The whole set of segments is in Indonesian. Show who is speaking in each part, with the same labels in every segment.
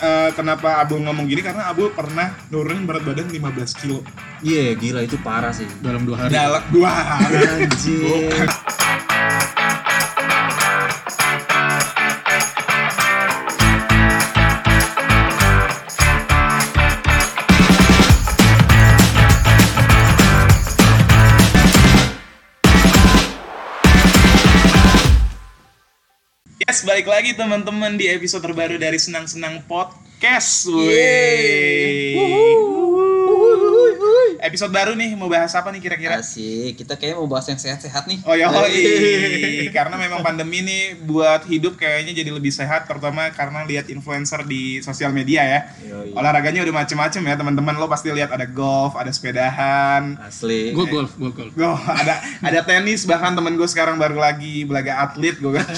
Speaker 1: eh, kenapa Abul ngomong gini karena Abul pernah nurunin berat badan 15 kilo
Speaker 2: Iya, gila itu parah sih.
Speaker 3: dalam dua hari
Speaker 1: dalam dua hari.
Speaker 2: Anjir.
Speaker 1: Bukan. Yes, balik lagi teman-teman di episode terbaru dari Senang Senang Podcast. Wih.
Speaker 3: Uhuh.
Speaker 1: Episode baru nih, mau bahas apa nih kira-kira?
Speaker 2: Asik, kita kayaknya mau bahas yang sehat-sehat nih.
Speaker 1: Oh ya, oi. karena memang pandemi ini buat hidup kayaknya jadi lebih sehat, terutama karena lihat influencer di sosial media ya.
Speaker 2: Yoi.
Speaker 1: Olahraganya udah macem-macem ya teman-teman. Lo pasti lihat ada golf, ada sepedahan,
Speaker 2: Asli.
Speaker 3: gue golf gue golf
Speaker 1: Go, Oh, ada ada tenis bahkan temen gue sekarang baru lagi belaga atlet gue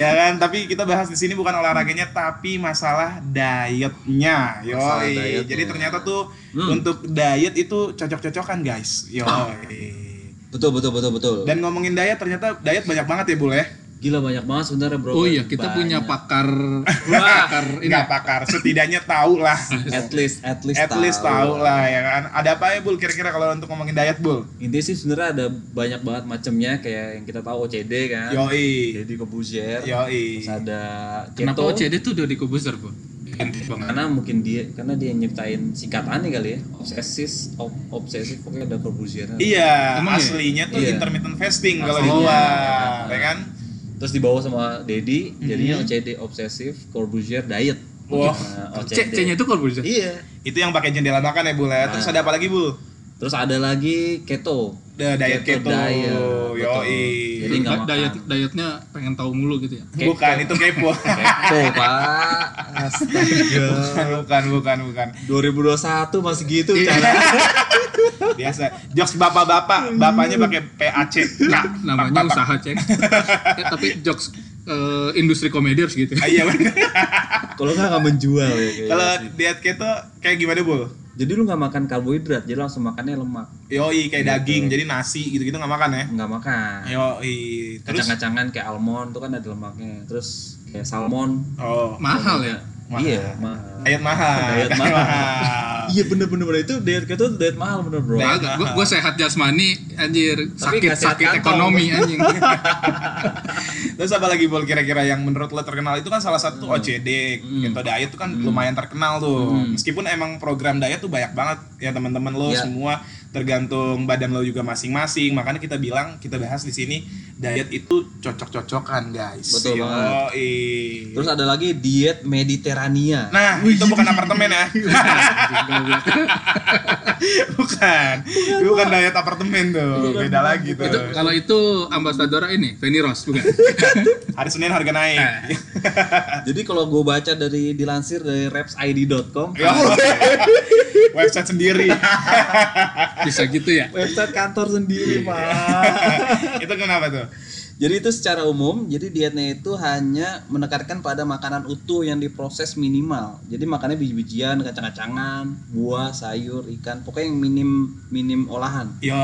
Speaker 1: ya kan tapi kita bahas di sini bukan olahraganya tapi masalah dietnya yoi
Speaker 2: Masalah dietnya.
Speaker 1: jadi ternyata tuh
Speaker 2: Hmm.
Speaker 1: untuk diet itu cocok-cocokan guys yoi
Speaker 2: Betul, betul, betul, betul.
Speaker 1: dan ngomongin diet ternyata diet banyak banget ya Bul ya
Speaker 2: gila banyak banget sebenarnya, Bro.
Speaker 3: oh iya kita
Speaker 2: Banyak.
Speaker 3: punya pakar
Speaker 2: Wah,
Speaker 3: pakar ini
Speaker 1: nggak pakar setidaknya tahu lah
Speaker 2: at least at least
Speaker 1: at least tahu lah ya kan ada apa ya Bul kira-kira kalau untuk ngomongin diet Bul
Speaker 2: Intinya sih sebenarnya ada banyak banget macamnya kayak yang kita tahu OCD kan.
Speaker 1: yoi
Speaker 2: Jadi kebuzier.
Speaker 1: yoi
Speaker 2: Terus ada
Speaker 3: kenapa
Speaker 2: keto.
Speaker 3: OCD tuh udah dikubuser bu Gitu
Speaker 2: Karena mungkin dia karena dia nyiptain singkatannya kali ya. Obsesif, ob, obsesif pokoknya ada kebuzier.
Speaker 1: Iya,
Speaker 3: Emang ya?
Speaker 1: aslinya tuh
Speaker 2: Iya.
Speaker 1: intermittent fasting kalau di
Speaker 2: Aslinya.
Speaker 1: gua, ya kan?
Speaker 2: Terus dibawa sama Dedi, jadinya OCD obsesif, Corbusier diet.
Speaker 1: Mm-hmm. Wah.
Speaker 2: Nah,
Speaker 3: Gitu. C C nya itu korbuser
Speaker 2: Iya.
Speaker 1: Itu yang pakai jendela makan ya, Bu. ya. Terus
Speaker 2: Nah.
Speaker 1: ada apa lagi, Bu?
Speaker 2: Terus ada lagi keto.
Speaker 1: The diet keto.
Speaker 2: diet, Nah, betul.
Speaker 1: Yoi.
Speaker 2: Jadi nggak makan.
Speaker 3: diet dietnya pengen tahu mulu gitu ya
Speaker 2: keto.
Speaker 1: Bukan, itu kepo.
Speaker 2: Keto, Pak. Astaga.
Speaker 1: bukan, bukan, bukan, bukan.
Speaker 2: 2021 masih gitu
Speaker 1: Iya.
Speaker 2: cara.
Speaker 1: Biasa. Jokes bapak-bapak, bapaknya pakai PAC. Kak.
Speaker 3: namanya usaha cek Eh, tapi jokes eh, industri komedi harus gitu
Speaker 1: Ah, Iya, bener.
Speaker 2: Kalau nggak nggak menjual ya. kayak
Speaker 1: Kalau
Speaker 2: gitu.
Speaker 1: diet keto kayak gimana, Bu?
Speaker 2: jadi lu nggak makan karbohidrat, jadi langsung makannya lemak.
Speaker 1: Yoi, kayak daging, jadi nasi gitu-gitu nggak makan ya.
Speaker 2: Nggak makan.
Speaker 1: Yoi. Terus
Speaker 2: Kacang-kacangan kayak almond itu kan ada lemaknya. Terus kayak salmon.
Speaker 1: oh,
Speaker 3: mahal ya
Speaker 1: Mahal.
Speaker 2: Iya, mahal.
Speaker 1: diet mahal.
Speaker 2: Diet mahal. Iya bener-bener bener. itu diet keto itu diet mahal
Speaker 1: Nah,
Speaker 2: bener bro.
Speaker 3: Kagak, gue sehat jasmani anjir
Speaker 2: Iya. Tapi
Speaker 3: sakit
Speaker 2: nggak sehat
Speaker 3: sakit
Speaker 2: kantong.
Speaker 3: ekonomi anjing
Speaker 1: Terus apa lagi Bol kira-kira yang menurut lo terkenal itu kan salah
Speaker 2: Hmm.
Speaker 1: satu OCD keto diet itu kan lumayan terkenal tuh meskipun emang program diet tuh banyak banget ya teman-teman lo
Speaker 2: Ya.
Speaker 1: semua tergantung badan lo juga masing-masing makanya kita bilang kita bahas di sini diet itu cocok-cocokan guys Yoi.
Speaker 2: Betul banget. Terus ada lagi diet Mediterania.
Speaker 1: nah itu bukan apartemen
Speaker 2: iya.
Speaker 1: ya bukan bukan diet apartemen tuh beda lagi tuh
Speaker 3: itu kalau itu ambasadora ini Feni Rose bukan
Speaker 1: hari Senin harga
Speaker 2: Eh.
Speaker 1: naik
Speaker 2: Jadi kalau gue baca dari dilansir dari repsid.com,
Speaker 1: Ya. website sendiri
Speaker 3: bisa gitu ya
Speaker 2: website kantor sendiri
Speaker 1: Iya.
Speaker 2: pak.
Speaker 1: itu kenapa tuh
Speaker 2: Jadi itu secara umum, jadi dietnya itu hanya menekankan pada makanan utuh yang diproses minimal. Jadi makannya biji-bijian, kacang-kacangan, buah, sayur, ikan, pokoknya yang minim minim olahan.
Speaker 1: Yo,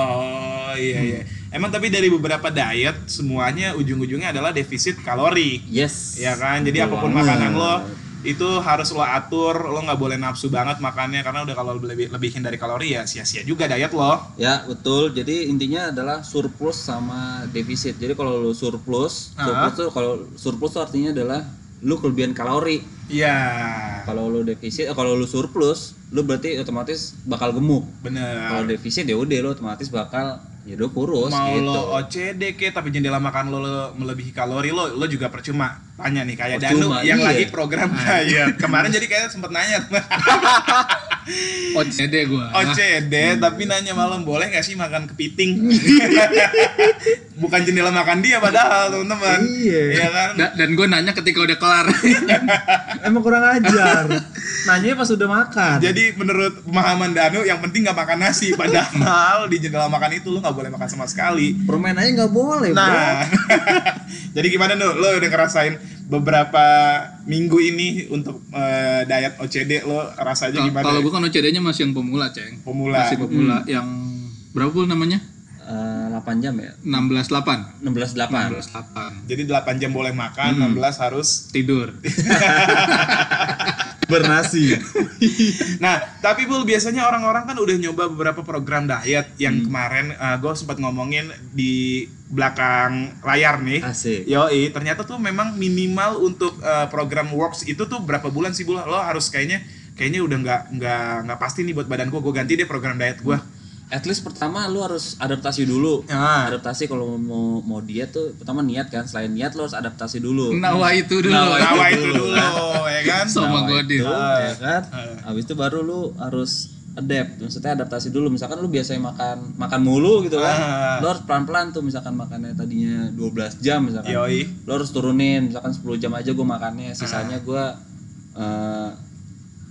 Speaker 1: iya iya. Emang tapi dari beberapa diet semuanya ujung-ujungnya adalah defisit kalori,
Speaker 2: Yes.
Speaker 1: ya kan? Jadi
Speaker 2: Betul
Speaker 1: apapun
Speaker 2: banget.
Speaker 1: makanan lo itu harus lo atur, lo nggak boleh nafsu banget makannya karena udah kalau lebih lebihin dari kalori ya sia-sia juga diet lo.
Speaker 2: Ya betul. Jadi intinya adalah surplus sama defisit. Jadi kalau lu surplus,
Speaker 1: Ah.
Speaker 2: surplus tuh kalau surplus tuh artinya adalah lu kelebihan kalori.
Speaker 1: Iya,
Speaker 2: Kalau lu defisit, eh, kalau lu surplus, lu berarti otomatis bakal gemuk. Kalau
Speaker 1: bener.
Speaker 2: defisit ya udah lu otomatis bakal ya udah kurus
Speaker 1: Ah. Mau
Speaker 2: gitu.
Speaker 1: lo OCD ke tapi jendela makan lo, lo melebihi kalori lo lo juga percuma. Tanya nih kayak Danu
Speaker 2: Percuma,
Speaker 1: yang
Speaker 2: iya.
Speaker 1: lagi program diet. Kemarin jadi kayak sempet nanya.
Speaker 3: OCD gue
Speaker 1: OCD tapi nanya malam boleh nggak sih makan kepiting? Bukan jendela makan dia padahal teman-teman.
Speaker 2: Iya.
Speaker 1: Iya kan?
Speaker 3: Nah, Da- dan gue nanya ketika udah kelar
Speaker 2: Emang kurang ajar. Nanya pas udah makan.
Speaker 1: Jadi menurut pemahaman Danu yang penting nggak makan nasi padahal di jendela makan itu lu nggak boleh makan sama sekali.
Speaker 2: permen aja nggak boleh. Bro.
Speaker 1: Nah, jadi gimana Nu? Lo udah ngerasain beberapa minggu ini untuk eh, diet OCD lo rasanya
Speaker 3: Kal-
Speaker 1: gimana?
Speaker 3: kalau gue kan OCD-nya masih yang pemula ceng
Speaker 1: Pemula.
Speaker 3: masih pemula yang berapa pun namanya
Speaker 2: Eh, 8 jam ya? 16-8.
Speaker 3: 16-8 16-8
Speaker 1: Jadi 8 jam boleh
Speaker 3: Hmm.
Speaker 1: makan, 16 harus
Speaker 3: tidur
Speaker 2: Bernasi.
Speaker 1: Nah, tapi Bul biasanya orang-orang kan udah nyoba beberapa program diet yang kemarin gue sempat ngomongin di belakang layar nih.
Speaker 2: Asik.
Speaker 1: Yoi, ternyata tuh memang minimal untuk eh, program works itu tuh berapa bulan sih Bul? Lo harus kayaknya kayaknya udah nggak nggak nggak pasti nih buat badan gue. Gue ganti deh program diet gue.
Speaker 2: At least pertama lu harus adaptasi dulu.
Speaker 1: Ah.
Speaker 2: Adaptasi kalau mau mau diet tuh pertama niat kan. Selain niat lu harus adaptasi dulu.
Speaker 1: Nah,
Speaker 3: nawa itu dulu
Speaker 2: Nawa
Speaker 1: Tawa itu dulu, ya kan? Eh,
Speaker 3: sama Godil
Speaker 1: iya.
Speaker 2: ya kan?
Speaker 1: Ah.
Speaker 2: Habis itu baru lu harus adapt, maksudnya adaptasi dulu. Misalkan lu biasanya makan makan mulu gitu kan.
Speaker 1: Ah.
Speaker 2: Lu harus pelan-pelan tuh misalkan makannya tadinya 12 jam misalkan.
Speaker 1: Yoi.
Speaker 2: Lo harus turunin misalkan 10 jam aja gue makannya, sisanya gua eh,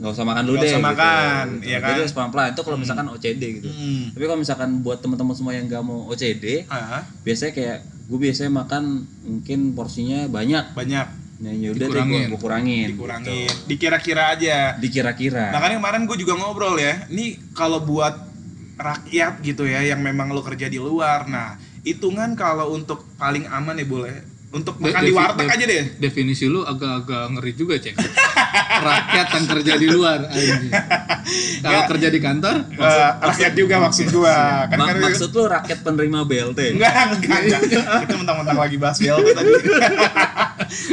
Speaker 2: nggak usah makan dulu
Speaker 1: Ah. Nggak
Speaker 2: deh. gitu.
Speaker 1: usah makan, iya
Speaker 2: Jadi
Speaker 1: kan?
Speaker 2: harus pelan-pelan. Itu kalau misalkan OCD gitu.
Speaker 1: Hmm.
Speaker 2: Tapi kalau misalkan buat teman-teman semua yang nggak mau OCD,
Speaker 1: Ah,
Speaker 2: biasanya kayak gue biasanya makan mungkin porsinya banyak.
Speaker 1: banyak
Speaker 2: Nah, yaudah deh
Speaker 3: Dikurangin.
Speaker 2: gue gue kurangin.
Speaker 1: dikurangin, dikira-kira aja.
Speaker 2: Dikira-kira.
Speaker 1: Nah. Makanya kemarin gue juga ngobrol ya, ini kalau buat rakyat gitu ya, yang memang lo kerja di luar, nah hitungan kalau untuk paling aman ya boleh, untuk
Speaker 3: De-
Speaker 1: makan di
Speaker 3: defi-
Speaker 1: warteg
Speaker 3: de-
Speaker 1: aja deh.
Speaker 3: definisi lu agak-agak ngeri juga cek rakyat yang kerja di luar anjing. kalau kerja di kantor
Speaker 1: Eh, rakyat juga maksud gue, kan
Speaker 2: Ma-
Speaker 1: karena
Speaker 2: maksud lu rakyat penerima BLT?
Speaker 1: enggak enggak, enggak. itu mentang-mentang lagi bahas BLT tadi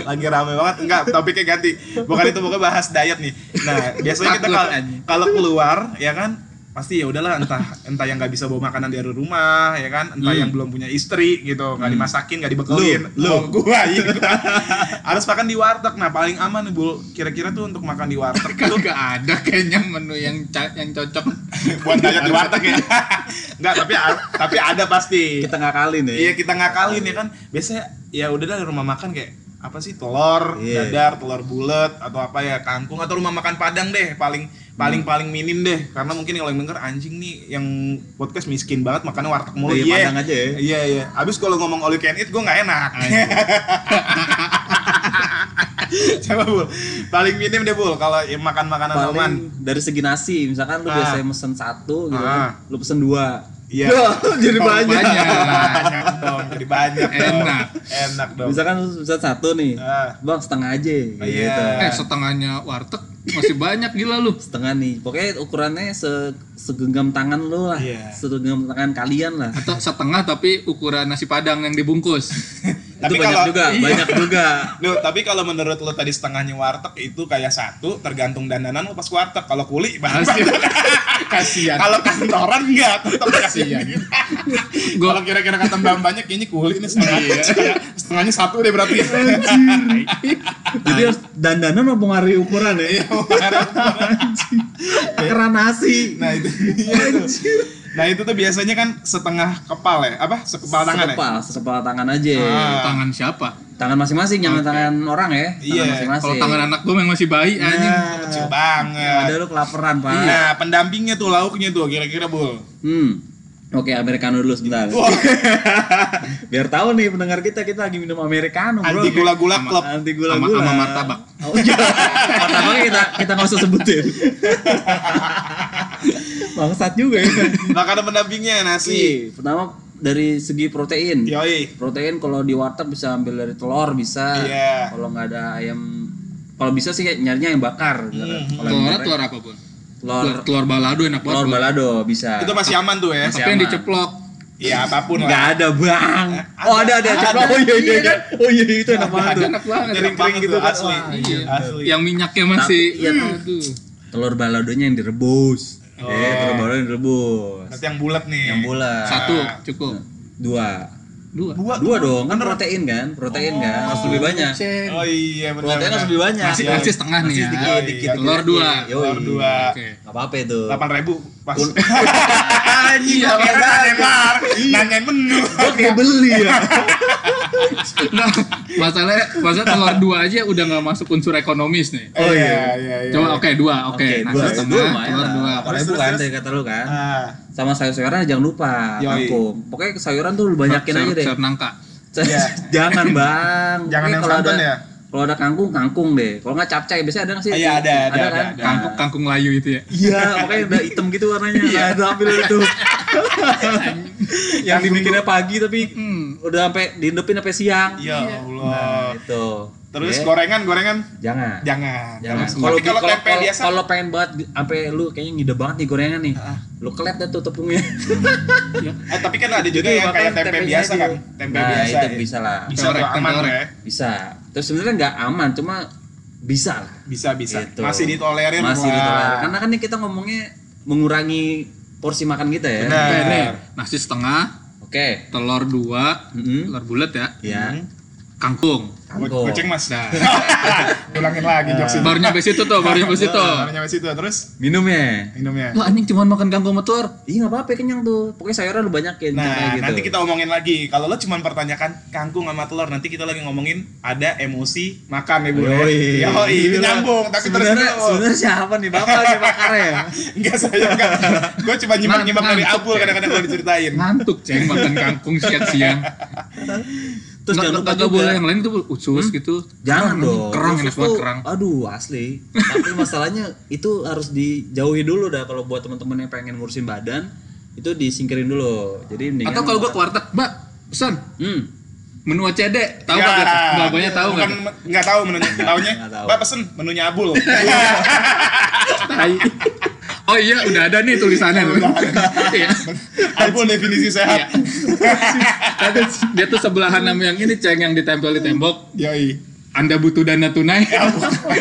Speaker 1: lagi rame banget enggak topiknya ganti bukan itu bukan bahas diet nih nah biasanya kita kalau kalau keluar ya kan pasti ya udahlah entah entah yang nggak bisa bawa makanan dari rumah ya kan entah yang belum punya istri gitu nggak dimasakin nggak dibekelin
Speaker 2: Lu,
Speaker 1: Oh, gua iya, gua. harus makan di warteg nah paling aman nih bu kira-kira tuh untuk makan di warteg tuh
Speaker 3: kagak ada kayaknya menu yang ca- yang cocok
Speaker 1: buat diet di warteg ya nggak tapi a- tapi ada pasti
Speaker 2: Kita ngakalin ya.
Speaker 1: Iya kita ngakalin ya kan. Biasanya ya udah dari rumah makan kayak apa sih telur,
Speaker 2: Iya.
Speaker 1: dadar, telur bulat atau apa ya kangkung atau rumah makan Padang deh paling paling
Speaker 2: Hmm.
Speaker 1: paling minim deh karena mungkin yang lain denger anjing nih yang podcast miskin banget makannya warteg mulu
Speaker 2: Iya,
Speaker 1: Iya.
Speaker 2: Padang aja ya.
Speaker 1: Iya iya. Abis kalau ngomong all you can eat gue nggak enak. Coba bul, paling minim deh bul kalau ya, makan makanan aman.
Speaker 2: Paling dari segi nasi, misalkan lu
Speaker 1: Ah.
Speaker 2: biasanya mesen satu gitu
Speaker 1: Ah.
Speaker 2: kan, lu pesen dua.
Speaker 1: Iya.
Speaker 2: Duh, Oh, jadi
Speaker 3: Kalau
Speaker 2: banyak.
Speaker 1: Banyak dong, jadi banyak dong.
Speaker 3: Enak.
Speaker 1: Enak dong.
Speaker 2: Misalkan lu pesen satu nih.
Speaker 1: Ah.
Speaker 2: Bang, setengah aja gitu.
Speaker 1: Iya.
Speaker 3: eh setengahnya warteg masih banyak gila lu
Speaker 2: Setengah nih. Pokoknya ukurannya se segenggam tangan lu lah.
Speaker 1: Iya.
Speaker 2: Segenggam tangan kalian lah.
Speaker 3: atau setengah tapi ukuran nasi padang yang dibungkus
Speaker 1: Tapi
Speaker 2: itu banyak
Speaker 1: kalau-
Speaker 2: juga,
Speaker 1: iya.
Speaker 2: banyak juga.
Speaker 1: Loh, tapi kalau menurut lo tadi setengahnya warteg itu kayak satu tergantung dandanan lo pas warteg. Kalau kuli
Speaker 2: kan?
Speaker 3: Kasian.
Speaker 1: banyak.
Speaker 3: kasihan
Speaker 1: Kalau kantoran enggak, tetap
Speaker 3: Kasian.
Speaker 2: Iya.
Speaker 1: kasihan. Kalau kira-kira kata Mbak banyak kayaknya kuli ini setengah.
Speaker 2: Iya.
Speaker 1: Setengahnya satu deh berarti.
Speaker 2: Jadi harus dandanan mempengaruhi ukuran
Speaker 1: Iya,
Speaker 2: ya. Karena nasi.
Speaker 1: nah, itu. iya tuh. Nah, itu tuh biasanya kan setengah kepal ya, apa? Sekepal tangan ya?
Speaker 2: Sekepal, sekepal tangan aja.
Speaker 1: Ah.
Speaker 3: tangan siapa
Speaker 2: Tangan masing-masing, jangan tangan orang ya. Tangan
Speaker 1: Iya,
Speaker 3: kalau tangan anak gue yang masih bayi anjing
Speaker 2: Nah,
Speaker 1: Kecil
Speaker 2: yang ada
Speaker 1: banget.
Speaker 2: lu kelaperan, Pak.
Speaker 1: Nah, pendampingnya tuh lauknya tuh kira-kira, Bul.
Speaker 2: Hmm. Oke, americano dulu sebentar.
Speaker 1: Wah,
Speaker 2: Biar tahu nih pendengar kita kita lagi minum americano, Bro.
Speaker 1: anti gula-gula klub.
Speaker 2: Anti gula
Speaker 3: Sama-
Speaker 2: gula.
Speaker 3: sama martabak.
Speaker 2: Oh, iya. Martabaknya kita kita nggak usah sebutin. Bangsat juga ya.
Speaker 1: Makanan pendampingnya nasi.
Speaker 2: Sih, pertama dari segi protein.
Speaker 1: Yoi.
Speaker 2: Protein kalau di warteg bisa ambil dari telur bisa.
Speaker 1: Iya.
Speaker 2: Kalau nggak ada ayam kalau bisa sih kayak nyarinya yang bakar. gitu kan. Kalau yang goreng,
Speaker 3: telurnya telur apa pun
Speaker 2: telur
Speaker 3: telur, telur balado enak banget
Speaker 2: telur
Speaker 3: Bun.
Speaker 2: balado bisa.
Speaker 1: Itu masih aman tuh ya.
Speaker 2: Masih
Speaker 3: tapi yang
Speaker 2: aman.
Speaker 3: diceplok
Speaker 1: Ya apapun
Speaker 2: Nggak
Speaker 1: lah.
Speaker 2: ada bang. oh ada ada.
Speaker 1: Ada.
Speaker 2: Oh iya iya. iya. Oh iya itu enak banget.
Speaker 3: ada
Speaker 2: tuh.
Speaker 3: enak banget
Speaker 1: Kering-kering gitu
Speaker 2: Gampang
Speaker 1: asli.
Speaker 2: tuh,
Speaker 1: Iya, asli.
Speaker 3: yang minyaknya masih
Speaker 2: Tapi, iya,
Speaker 3: Hmm, aduh.
Speaker 2: Telur baladonya yang direbus. Eh telur baladonya yang direbus.
Speaker 1: Berarti yang bulat nih.
Speaker 2: Yang bola.
Speaker 3: satu
Speaker 2: Nah.
Speaker 3: cukup
Speaker 2: Dua.
Speaker 3: dua
Speaker 1: Dua.
Speaker 2: Dua dong kan protein kan, protein kan harus lebih banyak.
Speaker 3: Cek.
Speaker 1: Oh iya benar.
Speaker 2: Protein harus
Speaker 1: benar.
Speaker 2: lebih banyak.
Speaker 3: nasi
Speaker 1: Iya.
Speaker 3: nasi setengah nih
Speaker 2: Nasi
Speaker 3: ya
Speaker 2: dikit, dikit,
Speaker 3: telur
Speaker 2: dikit.
Speaker 3: dua
Speaker 2: Yoi.
Speaker 1: Telur dua.
Speaker 3: oke
Speaker 2: Gak apa-apa itu.
Speaker 1: Delapan ribu pas.
Speaker 2: Kun-
Speaker 1: Anjing
Speaker 2: Iya,
Speaker 1: kira
Speaker 2: makanya.
Speaker 1: Mar.
Speaker 2: Iya.
Speaker 1: Nanyain menu.
Speaker 2: Gue kayak beli ya.
Speaker 3: nah masalahnya masalah telur dua aja udah nggak masuk unsur ekonomis nih
Speaker 1: Oh iya iya iya.
Speaker 3: coba oke dua oke
Speaker 2: Oke,
Speaker 3: nasi
Speaker 2: dua
Speaker 3: setengah,
Speaker 2: dua lumayan
Speaker 3: telur dua
Speaker 2: lah.
Speaker 1: Terus,
Speaker 2: Apalagi
Speaker 1: terus,
Speaker 2: kan
Speaker 1: terus.
Speaker 2: tadi kata lu kan.
Speaker 1: Ah.
Speaker 2: Sama sayur-sayuran jangan lupa.
Speaker 1: Yoi.
Speaker 2: Kangkung. Pokoknya sayuran tuh lu banyakin
Speaker 3: Sayur-
Speaker 2: aja deh.
Speaker 3: sayur nangka
Speaker 1: Iya.
Speaker 2: jangan bang
Speaker 1: Jangan
Speaker 2: Ini
Speaker 1: yang
Speaker 2: kalau
Speaker 1: santan
Speaker 2: ada-
Speaker 1: ya?
Speaker 2: kalau ada kangkung kangkung deh kalau nggak capcay biasanya ada kan? nggak sih
Speaker 1: Ah, iya, ada, ada, ada, ada.
Speaker 3: kangkung kangkung layu itu ya
Speaker 1: Iya.
Speaker 2: iya makanya udah hitam gitu warnanya nah, itu ambil itu yang dibikinnya pagi tapi
Speaker 3: Hmm.
Speaker 2: udah sampai diindepin sampai siang.
Speaker 1: ya
Speaker 2: Nah,
Speaker 1: Allah
Speaker 2: itu.
Speaker 1: terus
Speaker 2: Ya,
Speaker 1: gorengan gorengan
Speaker 2: jangan.
Speaker 1: jangan
Speaker 2: Jangan.
Speaker 1: Tapi
Speaker 2: Kalau
Speaker 1: kalau
Speaker 2: kalau-
Speaker 1: tempe
Speaker 2: kalau-
Speaker 1: biasa
Speaker 2: kalau pengen banget sampai lu kayaknya ngide banget nih gorengan nih.
Speaker 1: Ah.
Speaker 2: Lu kelet dah tuh tepungnya.
Speaker 1: eh, tapi kan ada juga
Speaker 2: Jadi
Speaker 1: yang kayak
Speaker 2: makan
Speaker 1: tempe
Speaker 2: tempenya
Speaker 1: biasa
Speaker 2: aja.
Speaker 1: kan tempe
Speaker 2: nah,
Speaker 1: biasa
Speaker 2: itu
Speaker 1: ya.
Speaker 2: bisa lah.
Speaker 1: bisa tuh
Speaker 3: Tempe
Speaker 1: aman
Speaker 3: orek.
Speaker 1: ya
Speaker 2: Bisa. Terus sebenarnya nggak aman, cuma bisa lah.
Speaker 1: bisa bisa
Speaker 2: Gitu.
Speaker 1: masih ditolerir
Speaker 2: Masih
Speaker 1: lah.
Speaker 2: ditolerir. Karena kan ini kita ngomongnya mengurangi porsi makan kita ya.
Speaker 1: Benar.
Speaker 3: Oke, nih, nasi setengah,
Speaker 2: Oke.
Speaker 3: telur dua,
Speaker 2: Mm-mm.
Speaker 3: telur bulat ya,
Speaker 2: Ya.
Speaker 3: kangkung.
Speaker 1: Go- Hmm.
Speaker 2: Kangkung.
Speaker 1: Goceng mas
Speaker 3: Nah,
Speaker 1: Ulangin lagi
Speaker 2: Nah.
Speaker 1: jokes itu
Speaker 3: baru nyampe situ tuh, baru nyampe situ.
Speaker 1: Baru nyampe situ Terus
Speaker 2: Minumnya.
Speaker 1: minumnya
Speaker 3: Wah, anjing cuma makan kangkung sama telur.
Speaker 2: Ih nggak apa-apa kenyang tuh. Pokoknya sayurnya lu banyakin
Speaker 1: Nah
Speaker 2: kayak gitu.
Speaker 1: nanti kita omongin lagi Kalau lo cuma pertanyakan kangkung sama telur Nanti kita lagi ngomongin ada emosi makan ya bu ya.
Speaker 2: Yoi. Iya,
Speaker 1: Yoi itu nyambung Tapi terus
Speaker 2: sebenarnya
Speaker 1: dulu
Speaker 2: sebenarnya siapa nih bapak nih bakarnya ya?
Speaker 1: Enggak saya enggak Gue cuma nyimak-nyimak
Speaker 3: Ngan-
Speaker 1: dari
Speaker 3: ngantuk,
Speaker 1: Abul
Speaker 3: ya.
Speaker 1: kadang-kadang kalau diceritain
Speaker 3: Ngantuk, Ceng, makan kangkung siang-siang.
Speaker 2: Terus jangan lupa
Speaker 3: nggak
Speaker 2: juga.
Speaker 3: boleh yang lain tuh usus gitu.
Speaker 2: Jangan
Speaker 3: Kerang,
Speaker 2: dong.
Speaker 3: Kerang
Speaker 2: Usus
Speaker 3: enak banget
Speaker 2: tuh,
Speaker 3: kerang.
Speaker 2: Aduh asli. Tapi masalahnya itu harus dijauhi dulu dah kalau buat teman-teman yang pengen ngurusin badan itu disingkirin dulu. Jadi mendingan
Speaker 3: Atau kalau gua ke warteg, Mbak, pesan
Speaker 2: Hmm.
Speaker 3: menu OCD. Tahu
Speaker 1: Ya,
Speaker 2: Iya.
Speaker 3: enggak? Mbak banyak tahu
Speaker 1: bukan
Speaker 3: enggak?
Speaker 1: men- Enggak tahu menunya. Taunya,
Speaker 2: Nggak tahu.
Speaker 1: Mbak pesen menunya Abul.
Speaker 3: Tai. Oh iya, udah ada nih tulisannya. Iya.
Speaker 1: Abul definisi
Speaker 3: Iya.
Speaker 1: sehat.
Speaker 3: Tapi dia tuh sebelahan sama yang ini ceng yang ditempel di tembok.
Speaker 2: Iya.
Speaker 1: Yoi.
Speaker 3: Anda butuh dana tunai.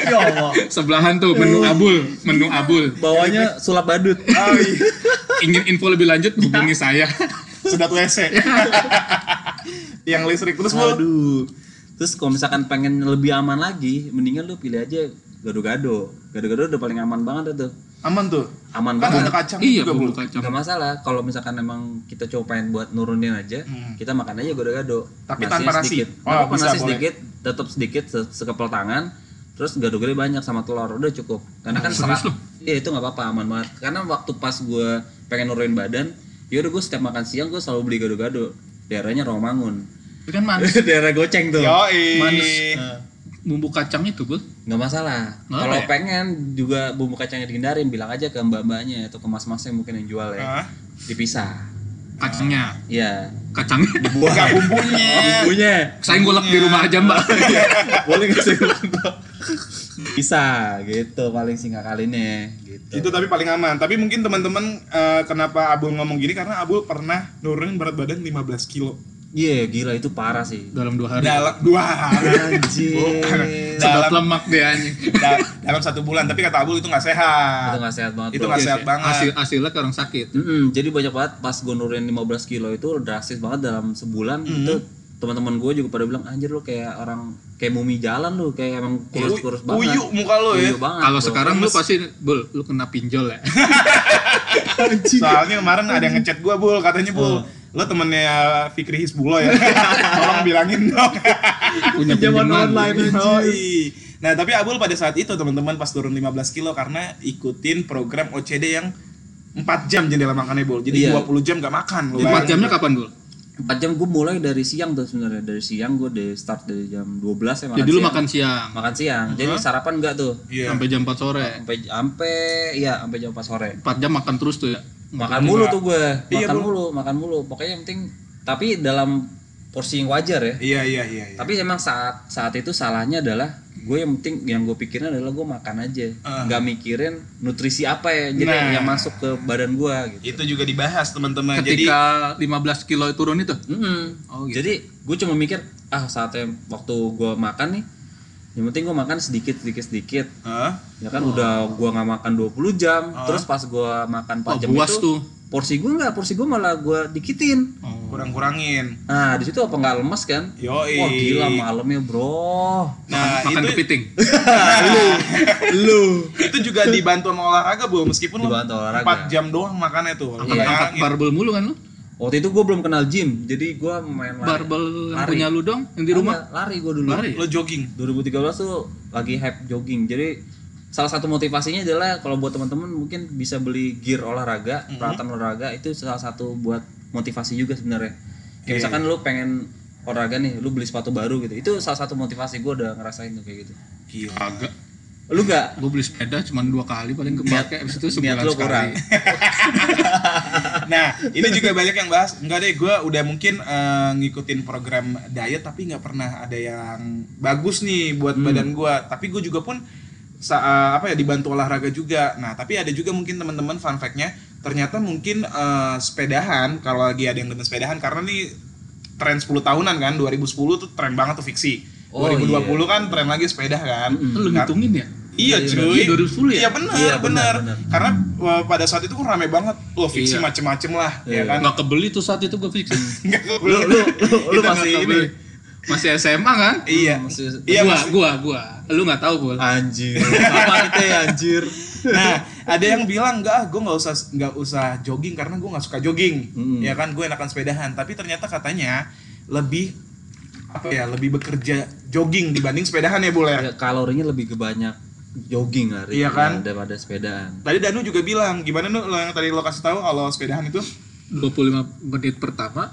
Speaker 2: Ya Allah. Ya.
Speaker 3: Sebelahan tuh menu abul, menu abul.
Speaker 2: Bawahnya sulap badut.
Speaker 1: Yoi.
Speaker 3: Ingin info lebih lanjut
Speaker 2: Ya.
Speaker 3: hubungi saya.
Speaker 1: Sedot WC. Yang listrik terus Bul.
Speaker 2: Aduh. Terus kalau misalkan pengen lebih aman lagi, mendingan lu pilih aja gado-gado. Gado-gado udah paling aman banget dah tuh.
Speaker 1: Aman tuh.
Speaker 2: Aman
Speaker 1: Kan ada
Speaker 2: banget.
Speaker 1: kacang
Speaker 3: Iya,
Speaker 1: juga Bul.
Speaker 3: bumbu kacang.
Speaker 2: Gak masalah kalau misalkan emang kita coba pengen buat nurunin aja,
Speaker 1: Hmm.
Speaker 2: kita makan aja gado-gado.
Speaker 1: Tapi
Speaker 2: Nasinya
Speaker 1: tanpa nasi.
Speaker 2: Sedikit.
Speaker 1: Oh,
Speaker 2: Nggak apa-apa,
Speaker 1: bisa,
Speaker 2: nasi
Speaker 1: boleh.
Speaker 2: sedikit, tetap sedikit se- sekepel tangan. Terus gado-gado banyak sama telur udah cukup. Karena
Speaker 1: Nah,
Speaker 2: kan serat. Iya itu nggak apa-apa aman banget. Karena waktu pas gue pengen nurunin badan, ya udah gue setiap makan siang gue selalu beli gado-gado. Daerahnya Romangun.
Speaker 3: Itu kan manis.
Speaker 2: Daerah goceng tuh.
Speaker 1: Yoi.
Speaker 3: Manis. Bumbu kacang itu, Bul.
Speaker 2: nggak masalah
Speaker 3: Nggak
Speaker 2: kalau
Speaker 3: apa ya?
Speaker 2: pengen juga bumbu kacangnya dihindarin bilang aja ke mbak-mbaknya atau ke mas-masnya mungkin yang jual ya
Speaker 1: Hah?
Speaker 2: dipisah
Speaker 3: Kacangnya.
Speaker 2: iya
Speaker 3: Kacangnya.
Speaker 1: Enggak bumbunya.
Speaker 2: bumbunya
Speaker 3: Saya ngulek di rumah aja, Mbak.
Speaker 2: Iya. boleh nggak sih bisa gitu paling singkat kalinya gitu
Speaker 1: Itu tapi paling aman. Tapi mungkin teman-teman eh, kenapa Abul ngomong gini karena Abul pernah nurunin berat badan 15 kilo
Speaker 2: iya gila itu parah sih
Speaker 3: Dalam dua hari.
Speaker 1: dalam dua hari. Bukan.
Speaker 2: anjir
Speaker 3: Sedot
Speaker 1: dalam-
Speaker 3: lemak deh anjing.
Speaker 1: Da- dalam satu bulan. Tapi kata Abul itu nggak
Speaker 2: itu
Speaker 1: sehat.
Speaker 2: nggak sehat banget
Speaker 1: Itu
Speaker 2: bro.
Speaker 1: nggak sehat
Speaker 3: Iya sih.
Speaker 1: banget.
Speaker 3: Hasil hasilnya ke orang sakit.
Speaker 2: Mm-mm, jadi banyak banget pas gue nurunin 15 kilo itu drastis banget dalam sebulan itu teman-teman gue juga pada bilang anjir lu kayak orang kayak mumi jalan lu kayak emang kurus-kurus banget.
Speaker 1: Uyuk muka lo ya.
Speaker 2: Uyuk banget.
Speaker 3: Kalau
Speaker 2: Ah, bro.
Speaker 3: sekarang lu pasti bul, lu kena pinjol ya.
Speaker 1: Soalnya kemarin ada yang ngechat gua Bul, katanya Bul, lo temennya Fikri Hisbullah ya. Tolong bilangin dong.
Speaker 3: punya
Speaker 2: Pinjaman
Speaker 3: pinjaman.
Speaker 2: online.
Speaker 1: Yoi. Nah, tapi Abul pada saat itu teman-teman pas turun 15 kilo karena ikutin program OCD yang 4 jam jendela makannya Bul. Jadi
Speaker 2: Iya.
Speaker 1: 20 jam gak makan. lu
Speaker 3: Empat
Speaker 1: bayangin.
Speaker 3: jamnya kapan bul?
Speaker 2: empat jam gue mulai dari siang tuh sebenarnya dari siang gue dari start dari jam 12 ya makan
Speaker 3: Jadi lu
Speaker 2: siang.
Speaker 3: makan siang
Speaker 2: makan siang. Jadi sarapan enggak tuh?
Speaker 1: Iya.
Speaker 3: sampai jam 4 sore.
Speaker 2: Sampai sampai ya sampai jam 4 sore.
Speaker 3: Empat jam makan terus tuh ya.
Speaker 2: Makan mulu tuh gue,
Speaker 1: Iya,
Speaker 2: makan
Speaker 1: Bro.
Speaker 2: mulu, makan mulu. Pokoknya yang penting tapi dalam porsi yang wajar ya.
Speaker 1: Iya, iya, iya. iya.
Speaker 2: Tapi emang saat saat itu salahnya adalah gue yang penting yang gue pikirin adalah gue makan aja,
Speaker 1: Ah.
Speaker 2: nggak mikirin nutrisi apa ya, jadi
Speaker 1: Nah. Iya.
Speaker 2: yang masuk ke badan gue gitu.
Speaker 1: Itu juga dibahas teman-teman. Jadi
Speaker 3: Ketika 15 kilo turun itu.
Speaker 2: Mm-mm.
Speaker 3: Oh, gitu.
Speaker 2: Nah, Jadi gue cuma mikir ah saatnya waktu gue makan nih, yang penting gue makan sedikit sedikit sedikit.
Speaker 1: Hah?
Speaker 2: Ya kan udah gue nggak makan 20 jam, terus pas gue makan 4
Speaker 3: Oh,
Speaker 2: jam
Speaker 3: puas
Speaker 2: itu
Speaker 3: tuh.
Speaker 2: porsi gue nggak, porsi gue malah gue dikitin.
Speaker 1: kurang-kurangin.
Speaker 2: Nah di situ apa nggak lemes kan?
Speaker 1: Yoi.
Speaker 2: Wah gila malamnya bro.
Speaker 1: Nah, itu
Speaker 3: makan kepiting.
Speaker 2: Iya. Lu
Speaker 1: itu juga dibantu sama olahraga, Bu. Meskipun lu
Speaker 2: Dibantu olahraga.
Speaker 1: 4 jam doang makannya tuh. Iya.
Speaker 3: Angkat, angkat
Speaker 2: Iya.
Speaker 1: Kurangin.
Speaker 3: barbel mulu kan lu?
Speaker 2: Waktu itu gue belum kenal gym, jadi gue main lari.
Speaker 3: Barbel yang
Speaker 2: Lari.
Speaker 3: punya lu dong yang di rumah.
Speaker 2: Enggak, lari gue dulu.
Speaker 3: Lari.
Speaker 1: Lo jogging.
Speaker 2: 2013 tuh lagi hype jogging, jadi salah satu motivasinya adalah kalau buat teman-teman mungkin bisa beli gear olahraga,
Speaker 3: Mm-hmm.
Speaker 2: peralatan olahraga itu salah satu buat motivasi juga sebenarnya.
Speaker 3: Iya,
Speaker 2: Kayak misalkan lu pengen olahraga nih, lu beli sepatu baru gitu, itu salah satu motivasi gue udah ngerasain tuh kayak gitu.
Speaker 1: Gila.
Speaker 3: Agak.
Speaker 2: Lu nggak
Speaker 3: gue beli sepeda cuma dua kali paling kepake abis itu
Speaker 2: niat
Speaker 3: sebulan
Speaker 2: lu kurang.
Speaker 3: sekali
Speaker 1: Nah, ini juga banyak yang bahas. Enggak deh, gue udah mungkin eh, ngikutin program diet tapi nggak pernah ada yang bagus nih
Speaker 2: Hmm.
Speaker 1: buat badan gue. Tapi gue juga pun sa- apa ya dibantu olahraga juga. Nah, tapi ada juga mungkin teman-teman fun fact-nya ternyata mungkin eh, sepedahan kalau lagi ada yang demen sepedahan karena nih tren 10 tahunan kan 2010 tuh tren banget tuh fiksi.
Speaker 2: Oh,
Speaker 1: 2020
Speaker 2: iya.
Speaker 1: kan tren lagi sepeda kan.
Speaker 2: Mm-mm.
Speaker 3: lu
Speaker 1: Kar-
Speaker 3: ngitungin ya
Speaker 1: Iya
Speaker 3: Dari-
Speaker 1: cuy.
Speaker 3: iya, 2010 ya?
Speaker 1: Iya benar,
Speaker 2: Iya, benar,
Speaker 1: benar.
Speaker 2: benar.
Speaker 1: Karena uh, pada saat itu kan rame banget. Loh fiksi
Speaker 3: Iya.
Speaker 1: macem-macem lah, ya
Speaker 2: Iya.
Speaker 1: kan.
Speaker 3: nggak kebeli tuh saat itu gue fix
Speaker 1: Enggak
Speaker 2: Lu lu lu, Hmm. lu
Speaker 1: Kita
Speaker 2: masih
Speaker 1: nggak
Speaker 2: ini.
Speaker 1: kebeli.
Speaker 3: masih SMA kan
Speaker 1: Iya.
Speaker 2: Masih- Ah.
Speaker 1: Iya,
Speaker 3: gua,
Speaker 1: masih-
Speaker 3: gua gua lu nggak tahu bol
Speaker 2: Anjir. Apa itu ya anjir?
Speaker 1: Nah, ada yang bilang enggak, ah, gue nggak usah nggak usah jogging karena gue nggak suka jogging.
Speaker 2: Mm.
Speaker 1: Ya kan, gue enakan sepedahan. Tapi ternyata katanya lebih apa ya, lebih bekerja jogging dibanding sepedahan ya boleh.
Speaker 2: Ya, kalorinya lebih kebanyak jogging hari
Speaker 1: Iya
Speaker 2: ini
Speaker 1: kan?
Speaker 2: daripada sepedaan.
Speaker 1: Tadi Danu juga bilang, gimana nu lo yang tadi lo kasih tahu kalau sepedahan itu?
Speaker 3: 25 menit pertama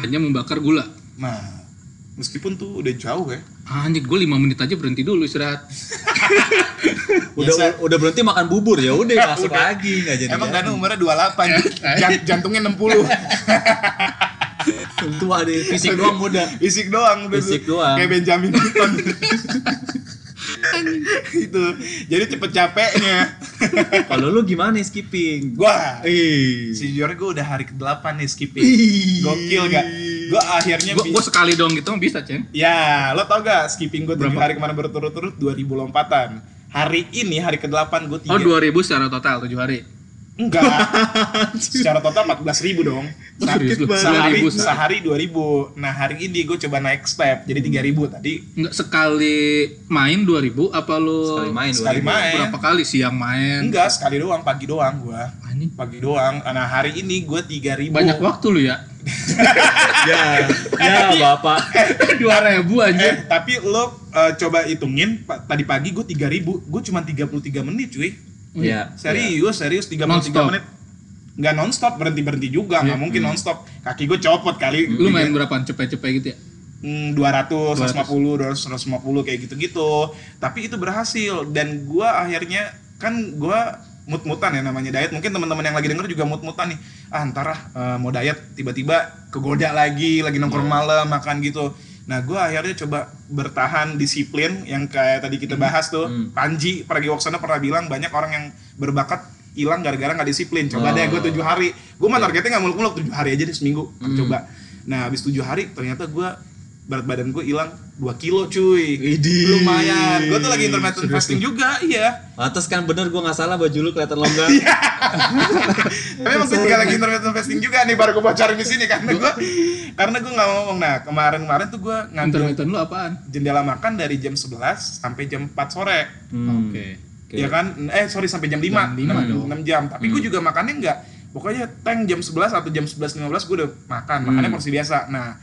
Speaker 3: hanya membakar gula
Speaker 1: Nah, meskipun tuh udah jauh ya.
Speaker 3: anjir gue 5 menit aja berhenti dulu istirahat
Speaker 2: Udah
Speaker 1: Biasa.
Speaker 2: udah berhenti makan bubur ya, udah masuk
Speaker 1: Iya Udah.
Speaker 2: lagi nggak jadi. ya.
Speaker 3: ya.
Speaker 1: Emang Danu umurnya 28, Jan- jantungnya 60.
Speaker 2: tua deh, fisik doang muda.
Speaker 1: Fisik doang udah
Speaker 2: Fisik
Speaker 1: tuh.
Speaker 2: doang.
Speaker 1: Kayak Benjamin Button. itu. Jadi cepet capeknya.
Speaker 2: Kalau lu gimana nih skipping?
Speaker 1: Gua eh,
Speaker 2: Ih.
Speaker 1: sejujurnya gue udah hari ke-8 nih skipping.
Speaker 2: Ih.
Speaker 1: Gokil gak? Gue
Speaker 2: Iya,
Speaker 1: akhirnya
Speaker 3: gue
Speaker 1: bi-
Speaker 3: sekali dong gitu mah bisa ceng
Speaker 1: Ya, lo tau gak skipping gue 7
Speaker 3: Berapa?
Speaker 1: hari kemarin berturut-turut 2000 lompatan. Hari ini hari ke-8 gue 3.
Speaker 2: Iya.
Speaker 3: oh 2000 secara total 7 hari
Speaker 1: Enggak. Secara total 14.000 dong.
Speaker 3: Oh, serius lu?
Speaker 1: sehari,
Speaker 3: 2000
Speaker 1: sehari 2000. Nah, hari ini gue coba naik step jadi 3000 tadi.
Speaker 3: Nggak sekali main 2000 apa lu
Speaker 2: Sekali main
Speaker 1: Sekali
Speaker 2: 2000.
Speaker 1: main.
Speaker 3: berapa kali siang main
Speaker 1: Enggak, sekali doang, pagi doang gua.
Speaker 3: Anjing,
Speaker 1: pagi doang. Nah hari ini gue tiga ribu.
Speaker 3: banyak waktu lu ya
Speaker 2: Ya, ya Bapak.
Speaker 3: 2000 anjir
Speaker 1: Eh, tapi lo eh, coba hitungin pa- tadi pagi gue tiga ribu, gue cuma 33 menit cuy.
Speaker 2: Ya.
Speaker 1: Serius serius 33
Speaker 3: Non-stop. Iya. Hmm.
Speaker 1: menit. Nggak nonstop berhenti berhenti juga, nggak mungkin nonstop. Kaki gue copot kali.
Speaker 3: Eh, lu main berapaan cepet-cepet gitu ya
Speaker 1: Hmm, dua ratus, lima puluh, kayak gitu-gitu. Tapi itu berhasil dan gue akhirnya kan gue mut-mutan ya namanya diet. Mungkin teman-teman yang lagi denger juga mut-mutan nih. Ah, antara mau diet tiba-tiba kegoda lagi, lagi nongkrong malam, makan gitu. Nah, gue akhirnya coba bertahan disiplin yang kayak tadi kita bahas tuh. Panji Pragiwaksono pernah bilang banyak orang yang berbakat hilang gara-gara nggak disiplin. Coba deh gue tujuh hari. Gue mah targetnya nggak muluk-muluk tujuh hari aja deh seminggu. Coba. Nah, habis tujuh hari ternyata gue berat badan gue hilang 2 kilo cuy
Speaker 2: Idih.
Speaker 1: lumayan gue tuh lagi intermittent fasting juga iya
Speaker 2: Lantas kan bener gua nggak salah baju lu kelihatan longgar.
Speaker 1: tapi emang gue juga lagi intermittent fasting juga nih baru gue bocorin di sini karena gue karena gue nggak ngomong nah kemarin kemarin tuh gue ngambil
Speaker 3: intermittent lu apaan
Speaker 1: jendela makan dari jam 11 sampai jam 4 sore
Speaker 2: Hmm. Oke. Hmm.
Speaker 1: ya kan eh sorry sampai jam 5
Speaker 3: Jam lima
Speaker 1: 6,
Speaker 3: dong.
Speaker 1: jam tapi gue juga makannya nggak pokoknya tank jam 11 atau jam 11.15 gue udah makan
Speaker 2: Hmm.
Speaker 1: makannya porsi biasa nah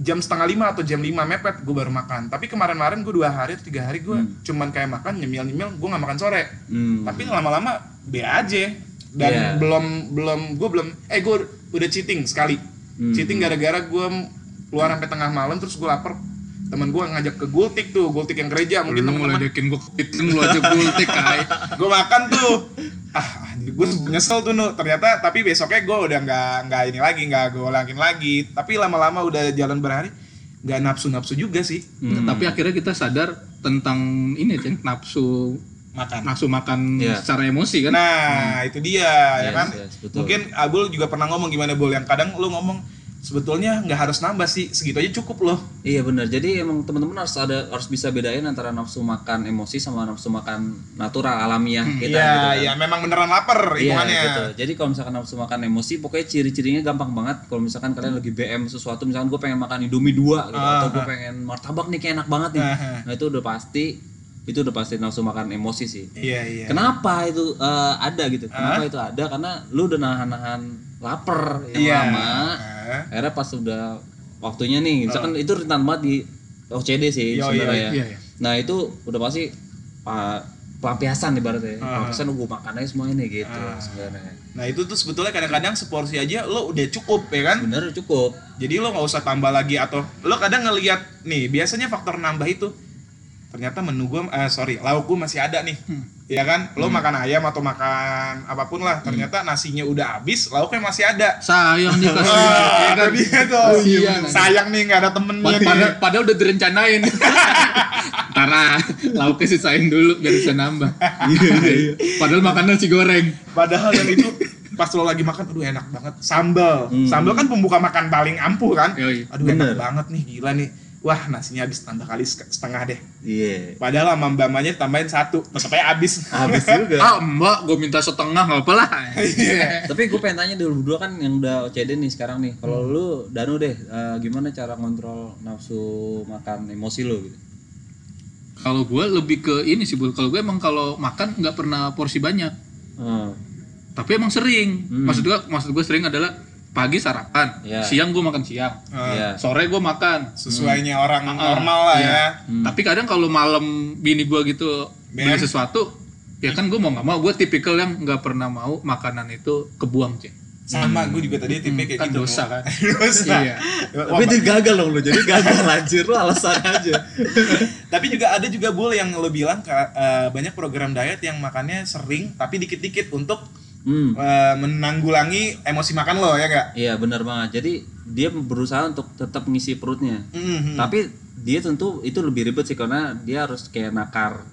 Speaker 1: jam setengah lima atau jam lima mepet gue baru makan tapi kemarin-kemarin gue dua hari atau tiga hari gue cuman kayak makan nyemil-nyemil gue nggak makan sore
Speaker 2: Hmm.
Speaker 1: tapi lama-lama be aja dan
Speaker 2: Iya.
Speaker 1: belum belum gue belum eh gue udah cheating sekali
Speaker 2: Hmm.
Speaker 1: cheating gara-gara gue keluar sampai tengah malam terus gue lapar temen gue ngajak ke gultik tuh gultik yang gereja mungkin
Speaker 3: lu
Speaker 1: temen-temen
Speaker 3: mulai dekin gua kepiting lu aja gultik kai
Speaker 1: gue makan tuh ah gue nyesel tuh nu ternyata tapi besoknya gue udah nggak nggak ini lagi nggak gue ulangin lagi tapi lama-lama udah jalan berhari nggak nafsu nafsu juga sih
Speaker 2: Hmm.
Speaker 3: tapi akhirnya kita sadar tentang ini ceng nafsu
Speaker 1: makan
Speaker 3: nafsu makan
Speaker 2: Iya.
Speaker 3: secara emosi
Speaker 2: Hmm.
Speaker 3: kan
Speaker 1: nah itu dia ya
Speaker 2: Yes,
Speaker 1: kan
Speaker 2: yes, Iya, betul.
Speaker 1: mungkin Abul juga pernah ngomong gimana Bul yang kadang lu ngomong sebetulnya nggak harus nambah sih segitu aja cukup loh
Speaker 2: Iya benar. Jadi emang teman-teman harus ada harus bisa bedain antara nafsu makan emosi sama nafsu makan natural alamiah kita gitu
Speaker 1: iya
Speaker 2: kan.
Speaker 1: iya memang beneran lapar hitungannya
Speaker 2: gitu. Jadi kalau misalkan nafsu makan emosi, pokoknya ciri-cirinya gampang banget. Kalau misalkan kalian lagi BM sesuatu, misalkan gue pengen makan Indomie dua gitu,
Speaker 1: Ah,
Speaker 2: atau gue pengen martabak nih kayak enak banget nih.
Speaker 1: Aha.
Speaker 2: Nah itu udah pasti, itu udah pasti nafsu makan emosi sih.
Speaker 1: iya iya Ah?
Speaker 2: Kenapa itu eh, ada gitu? Kenapa itu ada? Karena lu udah nahan-nahan lapar yang
Speaker 1: Iya.
Speaker 2: lama.
Speaker 1: Ah.
Speaker 2: Akhirnya pas udah waktunya nih, misalkan itu rentan banget di OCD sih
Speaker 1: Iya,
Speaker 2: sebenarnya
Speaker 1: iya,
Speaker 2: ya.
Speaker 3: iya, iya.
Speaker 2: Nah itu udah pasti ah, pelampiasan ibaratnya. Pelampiasan gue makan aja semuanya nih gitu sebenarnya.
Speaker 1: nah itu tuh sebetulnya kadang-kadang seporsi aja lo udah cukup ya kan
Speaker 2: Bener cukup.
Speaker 1: Jadi lo nggak usah tambah lagi atau lo kadang ngelihat nih biasanya faktor nambah itu ternyata menu gue eh, sorry lauk gue masih ada nih ya kan lo makan ayam atau makan apapun lah ternyata nasinya udah habis lauknya masih ada
Speaker 3: sayang nih kan? kasih
Speaker 1: Wah, itu dia tuh
Speaker 3: Iya, kan?
Speaker 1: sayang nih nggak ada temennya
Speaker 3: Pad-
Speaker 1: nih.
Speaker 3: Iya, Padahal, padahal udah direncanain. Tara, lauknya sisain dulu biar bisa nambah.
Speaker 2: Iya,
Speaker 3: padahal makannya nasi goreng.
Speaker 1: Padahal yang itu pas lo lagi makan, aduh enak banget. Sambal,
Speaker 2: Hmm.
Speaker 1: sambal kan pembuka makan paling ampuh kan.
Speaker 3: Yoi.
Speaker 1: Aduh enak
Speaker 2: Bener.
Speaker 1: banget nih, gila nih. Wah nasinya habis tambah kali se- setengah deh.
Speaker 2: Iya.
Speaker 1: Padahal sama mbak-mbaknya tambahin satu, tetep aja habis.
Speaker 2: Habis juga.
Speaker 3: Ah, Mbak, gue minta setengah nggak apa-apa lah. Iya.
Speaker 2: Tapi gue pengen tanya dulu berdua kan yang udah OCD nih sekarang nih. Kalau lu Danu deh, eh, gimana cara ngontrol nafsu makan emosi lu gitu?
Speaker 3: Kalau gue lebih ke ini sih, Bul. Kalau gue emang kalau makan nggak pernah porsi banyak.
Speaker 2: Hmm.
Speaker 3: Tapi emang sering.
Speaker 2: Hmm.
Speaker 3: Maksud gue, maksud gue sering adalah pagi sarapan,
Speaker 2: Iya.
Speaker 3: siang gue makan siang,
Speaker 1: Eh,
Speaker 2: Iya.
Speaker 3: sore gue makan.
Speaker 1: Sesuainya orang
Speaker 3: Ah,
Speaker 1: normal lah
Speaker 3: iya.
Speaker 1: ya.
Speaker 2: Hmm.
Speaker 3: Tapi kadang kalau malam bini gue gitu
Speaker 1: Ben.
Speaker 3: beli sesuatu, ya kan gue mau nggak mau, gue tipikal yang nggak pernah mau makanan itu kebuang cek.
Speaker 1: Sama gue juga tadi tipe kayak
Speaker 3: kan
Speaker 1: gitu.
Speaker 3: dosa
Speaker 1: Mo.
Speaker 3: kan.
Speaker 1: dosa.
Speaker 3: Iya.
Speaker 1: Wah,
Speaker 2: Tapi itu gagal dong lu. Jadi gagal anjir lu alasan aja.
Speaker 1: Tapi juga ada juga bul yang lo bilang Kak, eh, banyak program diet yang makannya sering tapi dikit-dikit untuk
Speaker 2: Hmm.
Speaker 1: eh, menanggulangi emosi makan lo ya enggak?
Speaker 2: Iya benar banget. Jadi dia berusaha untuk tetap ngisi perutnya.
Speaker 3: Mhm. Hmm.
Speaker 2: Tapi dia tentu itu lebih ribet sih karena dia harus kayak nakar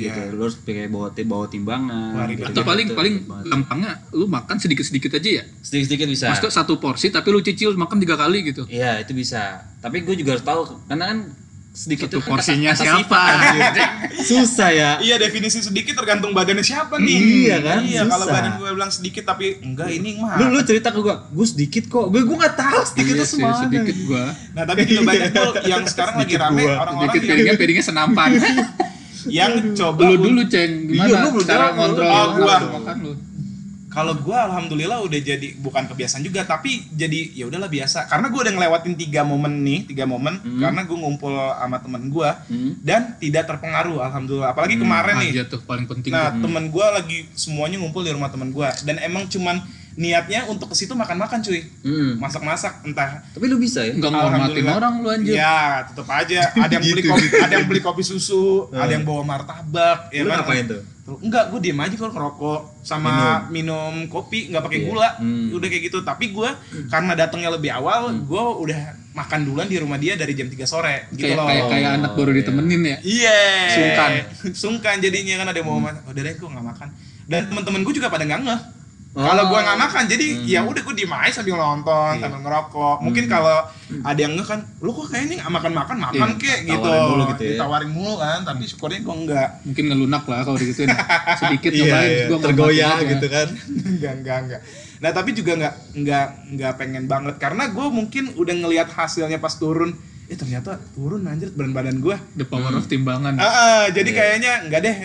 Speaker 1: Iya,
Speaker 2: gitu.
Speaker 1: iya.
Speaker 2: Lu harus kayak bawa ti- bawa timbangan.
Speaker 1: Wah, ribet
Speaker 3: Atau
Speaker 1: Iya,
Speaker 3: paling paling gampangnya lu makan sedikit-sedikit aja ya.
Speaker 2: sedikit-sedikit bisa.
Speaker 3: Maksudnya satu porsi tapi lu cicil makan tiga kali gitu.
Speaker 2: Iya itu bisa. Tapi gue juga harus tahu karena kan sedikit itu
Speaker 3: Satu
Speaker 2: kan
Speaker 3: porsinya
Speaker 2: kata- kata
Speaker 3: siapa?
Speaker 2: sifat, anjir. Susah ya.
Speaker 1: Iya definisi sedikit tergantung badannya siapa nih.
Speaker 2: Iya kan,
Speaker 1: Iya kalau
Speaker 2: susah.
Speaker 1: badan gue bilang sedikit tapi enggak ini mah.
Speaker 2: Lu lu cerita ke gue, gue sedikit kok. Gue gue nggak tahu sedikit
Speaker 3: Iya
Speaker 2: itu
Speaker 3: sih,
Speaker 2: semana.
Speaker 3: sedikit gua.
Speaker 1: Nah tapi juga banyak tuh yang sekarang lagi rame orang-orang
Speaker 3: Sedikit
Speaker 1: yang,
Speaker 3: piringnya piringnya senapan.
Speaker 1: yang coba.
Speaker 3: lu
Speaker 1: un-
Speaker 3: dulu ceng gimana
Speaker 2: Iya, lu belum
Speaker 3: cara
Speaker 2: jawab, lu.
Speaker 3: ngontrol
Speaker 1: Oh,
Speaker 3: nafsu
Speaker 1: gua.
Speaker 3: makan lu?
Speaker 1: Kalau gue alhamdulillah udah jadi bukan kebiasaan juga tapi jadi ya udahlah biasa. Karena gue udah ngelewatin tiga momen nih tiga momen
Speaker 2: Hmm.
Speaker 1: karena gue ngumpul sama temen gue
Speaker 2: Hmm.
Speaker 1: dan tidak terpengaruh alhamdulillah. Apalagi
Speaker 2: Hmm,
Speaker 1: kemarin nih.
Speaker 3: Aja tuh paling penting.
Speaker 1: Nah,
Speaker 3: tuh.
Speaker 1: temen gue lagi semuanya ngumpul di rumah temen gue dan emang cuman niatnya untuk ke situ makan-makan cuy,
Speaker 2: Hmm.
Speaker 1: masak-masak entah.
Speaker 2: Tapi lu bisa ya.
Speaker 3: Enggak ngormatin
Speaker 1: Alhamdulillah.
Speaker 3: orang lu anjir.
Speaker 1: Ya, tetep aja. Ada yang beli
Speaker 3: Gitu,
Speaker 1: kopi, ada yang beli kopi susu, ada yang bawa martabak, ya
Speaker 2: Eh. lu
Speaker 1: kan?
Speaker 2: ngapain tuh?
Speaker 1: Terus, Enggak, gue diem aja kalau ngerokok sama minum, kopi, nggak pakai
Speaker 2: Iya.
Speaker 1: gula,
Speaker 2: Hmm.
Speaker 1: udah kayak gitu. Tapi gue karena datangnya lebih awal, gue udah makan duluan di rumah dia dari jam 3 sore, gitu
Speaker 3: kayak
Speaker 1: loh.
Speaker 3: kayak kayak anak baru
Speaker 2: Iya.
Speaker 3: ditemenin ya.
Speaker 1: Iya.
Speaker 3: Sungkan.
Speaker 1: Sungkan jadinya kan ada yang mau makan. Udah deh gue nggak makan. Dan teman-teman gue juga pada nggak ngeh.
Speaker 2: Oh.
Speaker 1: Kalau gue nggak makan, jadi
Speaker 2: Hmm.
Speaker 1: ya udah gue diem aja sambil nonton,
Speaker 3: Iya.
Speaker 1: sambil ngerokok. Mungkin
Speaker 2: Hmm.
Speaker 1: kalau ada yang ngeh kan, lu kok kayaknya nggak makan-makan, makan
Speaker 3: Iya,
Speaker 1: kek gitu.
Speaker 2: tawarin mulu gitu ya.
Speaker 1: Ditawarin mulu kan, tapi syukurnya gue enggak.
Speaker 3: Mungkin ngelunak lah kalau digituin. Sedikit
Speaker 2: Iya,
Speaker 3: nyobain
Speaker 2: iya.
Speaker 3: gua
Speaker 2: tergoyah
Speaker 3: ngormatin aja.
Speaker 2: gitu kan.
Speaker 1: enggak, enggak, enggak. Nah tapi juga nggak nggak nggak pengen banget karena gue mungkin udah ngelihat hasilnya pas turun. Eh ternyata turun anjir berat badan gue.
Speaker 3: The power of timbangan.
Speaker 1: Ah, ah, jadi
Speaker 2: Iya.
Speaker 1: kayaknya enggak deh.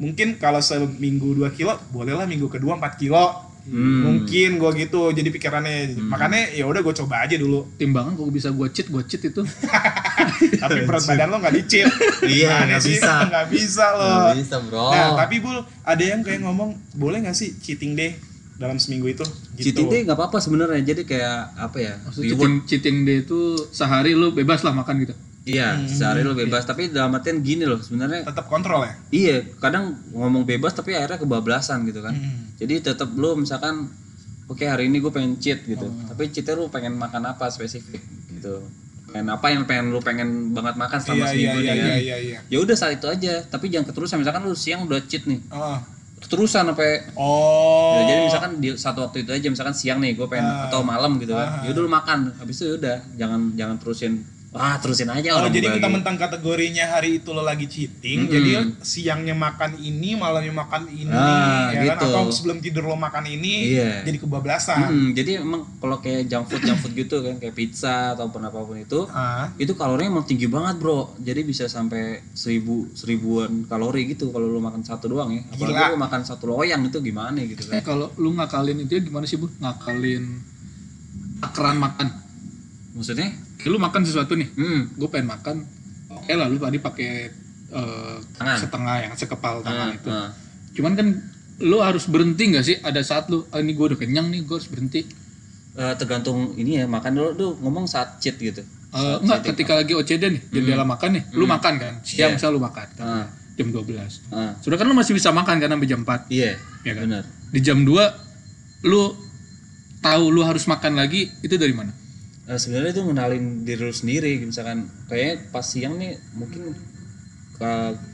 Speaker 1: Mungkin kalau seminggu 2 kilo, bolehlah minggu kedua 4 kilo.
Speaker 2: Hmm.
Speaker 1: Mungkin gua gitu. Jadi pikirannya makanya ya udah gua coba aja dulu.
Speaker 3: Timbangan kok bisa gua cheat, gua cheat itu.
Speaker 1: Tapi berat badan lo nggak dicit.
Speaker 2: Iya, nggak bisa.
Speaker 1: Enggak bisa lo.
Speaker 2: Nggak bisa Oh. bro.
Speaker 1: Nah, tapi Bul, ada yang kayak ngomong, "Boleh nggak sih cheating deh dalam seminggu itu?" Gitu.
Speaker 2: Cheat itu nggak apa-apa sebenarnya. Jadi kayak apa ya?
Speaker 3: Gitu. Maksudnya
Speaker 2: reward.
Speaker 3: cheating, cheating day itu sehari lu bebas lah makan gitu.
Speaker 2: Iya, sehari lu bebas. Tapi dalam artian gini loh, sebenarnya
Speaker 1: Tetap kontrol ya?
Speaker 2: iya. Kadang ngomong bebas tapi akhirnya kebablasan gitu kan.
Speaker 1: Hmm.
Speaker 2: Jadi tetap lu misalkan, oke hari ini gue pengen cheat
Speaker 1: Oh.
Speaker 2: gitu. Tapi cheatnya lu pengen makan apa spesifik gitu. Pengen apa yang pengen lu pengen banget makan selama
Speaker 1: Iya, iya,
Speaker 2: seminggu
Speaker 1: iya,
Speaker 2: nih
Speaker 1: iya,
Speaker 2: kan.
Speaker 1: iya, iya.
Speaker 2: Ya udah saat itu aja. Tapi jangan keterusan. Misalkan lu siang udah cheat nih,
Speaker 1: Ah.
Speaker 2: keterusan sampai
Speaker 1: Oh.
Speaker 2: Ya, jadi misalkan di satu waktu itu aja misalkan siang nih gue pengen
Speaker 1: Ah.
Speaker 2: atau malam gitu
Speaker 1: Ah.
Speaker 2: kan. Ya udah lu makan. Habis itu udah jangan jangan terusin. Wah, terusin aja
Speaker 1: Oh,
Speaker 2: orang
Speaker 1: jadi
Speaker 2: gua
Speaker 1: kita
Speaker 2: lagi.
Speaker 1: mentang kategorinya hari itu lo lagi cheating,
Speaker 2: Mm-mm.
Speaker 1: jadi siangnya makan ini, malamnya makan ini,
Speaker 2: Ah,
Speaker 1: ya kan?
Speaker 2: gitu.
Speaker 1: Atau sebelum tidur lo makan ini,
Speaker 2: Iya.
Speaker 1: jadi kebablasan.
Speaker 2: Mm-mm, jadi emang kalau kayak junk food junk food gitu kan kayak pizza ataupun apapun itu
Speaker 1: Ah,
Speaker 2: itu kalorinya emang tinggi banget bro jadi bisa sampai seribu seribuan kalori gitu kalau lu makan satu doang ya
Speaker 1: Gila.
Speaker 2: apalagi lu makan satu loyang itu gimana gitu
Speaker 3: Eh
Speaker 2: kan
Speaker 3: kalau lu ngakalin itu ya gimana sih, Bu? Ngakalin takaran makan.
Speaker 2: maksudnya
Speaker 3: Kayak lu makan sesuatu nih.
Speaker 2: hmm,
Speaker 3: Gue pengen makan. Oke lah lu tadi pakai eh,
Speaker 2: Tangan.
Speaker 3: setengah yang sekepal tangan
Speaker 2: ah,
Speaker 3: itu.
Speaker 2: ah.
Speaker 3: Cuman kan lu harus berhenti nggak sih? Ada saat lu "Ah, ini gue udah kenyang nih, gue harus berhenti. Eh,
Speaker 2: Eh, tergantung ini ya makan dulu tuh ngomong saat cheat gitu
Speaker 3: Eh, enggak, ketika lagi OCD nih, jendela makan nih, lu makan kan,
Speaker 2: Iya.
Speaker 3: siang misal lu makan,
Speaker 2: Ah,
Speaker 3: kan, jam 12.
Speaker 2: ah,
Speaker 3: Sudah kan lu masih bisa makan kan sampai jam 4,
Speaker 2: iya,
Speaker 3: ya kan?
Speaker 2: benar.
Speaker 3: Di jam 2, lu tahu lu harus makan lagi, itu dari mana?
Speaker 2: Eh, sebenarnya itu ngenalin diri lu sendiri misalkan kayaknya pas siang nih mungkin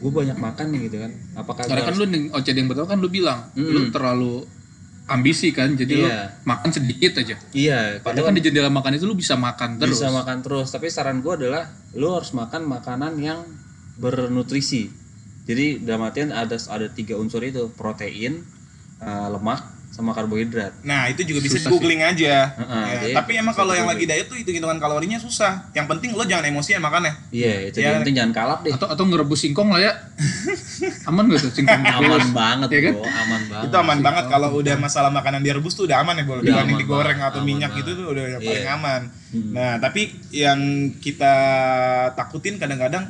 Speaker 2: gue banyak makan nih gitu kan apakah
Speaker 3: Karena
Speaker 2: gua
Speaker 3: kan
Speaker 2: harus-
Speaker 3: lu neng- OCD yang pertama kan lu bilang, lu terlalu ambisi kan, jadi lu
Speaker 2: Iya.
Speaker 3: makan sedikit aja.
Speaker 2: iya
Speaker 3: Padahal kan di jendela makan itu lu bisa makan terus.
Speaker 2: bisa makan terus tapi saran gue adalah lu harus makan makanan yang bernutrisi jadi dalam artian ada ada tiga unsur itu protein eh, lemak sama karbohidrat
Speaker 1: Nah itu juga bisa googling aja.
Speaker 2: Heeh,
Speaker 1: Ya,
Speaker 2: jadi
Speaker 1: tapi emang kalau yang lagi diet tuh hitung hitungan kalorinya susah. Yang penting lo jangan emosian makannya.
Speaker 2: iya itu
Speaker 1: Ya.
Speaker 2: yang penting jangan kalap deh
Speaker 3: Atau atau ngerebus singkong lah ya. Aman gak tuh singkong?
Speaker 2: aman banget
Speaker 3: Iya kan?
Speaker 2: bro aman banget
Speaker 1: itu aman banget kalau udah masalah makanan direbus tuh udah aman ya boleh
Speaker 2: Udah
Speaker 1: dibanding
Speaker 2: Iya, aman
Speaker 1: digoreng
Speaker 2: banget,
Speaker 1: atau
Speaker 2: aman
Speaker 1: minyak
Speaker 2: banget.
Speaker 1: gitu tuh udah yang
Speaker 2: Iya.
Speaker 1: paling aman. Nah tapi yang kita takutin kadang-kadang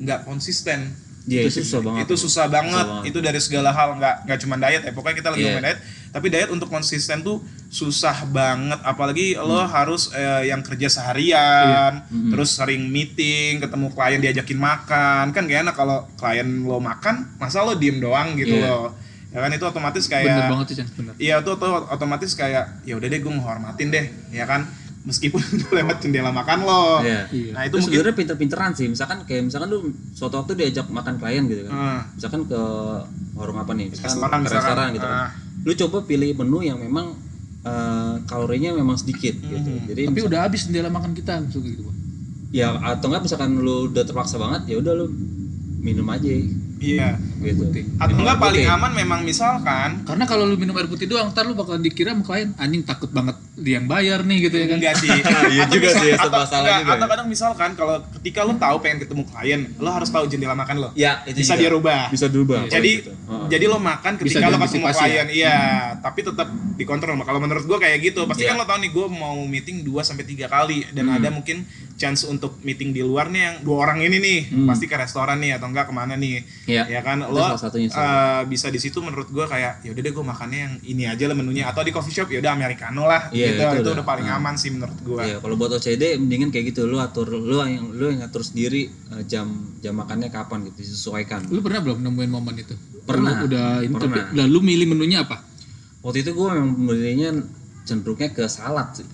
Speaker 1: nggak konsisten.
Speaker 2: Iya, itu susah banget
Speaker 1: Itu susah banget.
Speaker 2: banget.
Speaker 1: Itu dari segala hal nggak nggak cuma diet ya. Pokoknya kita lagi
Speaker 2: Iya.
Speaker 1: ngomongin diet, tapi diet untuk konsisten tuh susah banget. Apalagi lo
Speaker 2: Hmm.
Speaker 1: harus eh, yang kerja seharian,
Speaker 2: Iya.
Speaker 1: terus sering meeting, ketemu klien diajakin makan. Kan gak enak kalau klien lo makan, masa lo diem doang gitu
Speaker 2: Iya.
Speaker 1: loh. Ya kan itu otomatis
Speaker 3: Bener
Speaker 1: kayak
Speaker 3: banget sih, Chan. Bener.
Speaker 1: Iya tuh tuh otomatis kayak ya udah deh gue menghormatin deh ya kan meskipun udah lewat jendela makan lo.
Speaker 2: Iya.
Speaker 3: Iya.
Speaker 1: Nah itu
Speaker 2: itu
Speaker 1: mungkin
Speaker 2: sebenarnya pinter-pinteran sih misalkan kayak misalkan lu suatu waktu diajak makan klien gitu kan
Speaker 1: eh,
Speaker 2: misalkan ke warung apa nih misalkan
Speaker 1: restoran
Speaker 2: ke
Speaker 1: misalkan.
Speaker 2: restoran gitu kan
Speaker 1: Ah,
Speaker 2: lu coba pilih menu yang memang eh, kalorinya memang sedikit gitu
Speaker 1: Mhm.
Speaker 2: jadi
Speaker 3: Tapi
Speaker 2: misal-
Speaker 3: udah habis jendela makan kita langsung kayak gitu. Bang.
Speaker 2: ya atau enggak misalkan lu udah terpaksa banget ya udah lu minum aja gitu
Speaker 1: iya. Atau enggak paling aman memang misalkan
Speaker 3: Karena kalau lu minum air putih doang, ntar lu bakal dikira sama klien anjing takut banget dia yang bayar nih gitu ya kan.
Speaker 1: enggak sih.
Speaker 2: Iya
Speaker 1: Atau
Speaker 2: juga
Speaker 1: misal-
Speaker 2: sih, ya,
Speaker 1: atau,
Speaker 2: serba salah
Speaker 1: enggak,
Speaker 2: juga
Speaker 1: atau
Speaker 2: ya.
Speaker 1: kadang misalkan kalau ketika lo tahu pengen ketemu klien, lo harus tahu jendela makan lo.
Speaker 2: ya itu
Speaker 1: Bisa
Speaker 2: juga.
Speaker 1: dirubah.
Speaker 2: bisa dirubah
Speaker 1: Jadi
Speaker 2: gitu. Heeh.
Speaker 1: jadi lo makan
Speaker 3: Bisa
Speaker 1: ketika lo ketemu
Speaker 2: ya.
Speaker 3: diantisipasi
Speaker 1: klien, iya, tapi tetap dikontrol. Kalau menurut gua kayak gitu, pasti
Speaker 2: Hmm. Iya. Hmm.
Speaker 1: kan lo tau nih gua mau meeting 2 sampai 3 kali dan ada mungkin chance untuk meeting di luar nih yang dua orang ini nih, pasti ke restoran nih atau enggak kemana nih.
Speaker 2: Iya.
Speaker 1: Ya kan
Speaker 2: Hmm. Itu
Speaker 1: lo
Speaker 2: salah satunya, salah
Speaker 1: eh, bisa di situ menurut gua kayak ya udah deh gua makannya yang ini aja lah menunya atau di coffee shop ya udah americano lah
Speaker 2: Iya,
Speaker 1: gitu.
Speaker 2: itu
Speaker 1: Itu,
Speaker 2: udah.
Speaker 1: udah, paling
Speaker 2: Nah.
Speaker 1: aman sih menurut gua.
Speaker 2: Iya, kalau buat OCD mendingan kayak gitu lu atur lu yang lu yang ngatur sendiri eh, jam jam makannya kapan gitu disesuaikan.
Speaker 3: Lu pernah belum nemuin momen itu?
Speaker 2: Pernah.
Speaker 3: Lu udah ini tapi
Speaker 2: Pernah.
Speaker 3: udah lu milih menunya apa?
Speaker 2: Waktu itu gue memang belinya cenderungnya ke salad sih.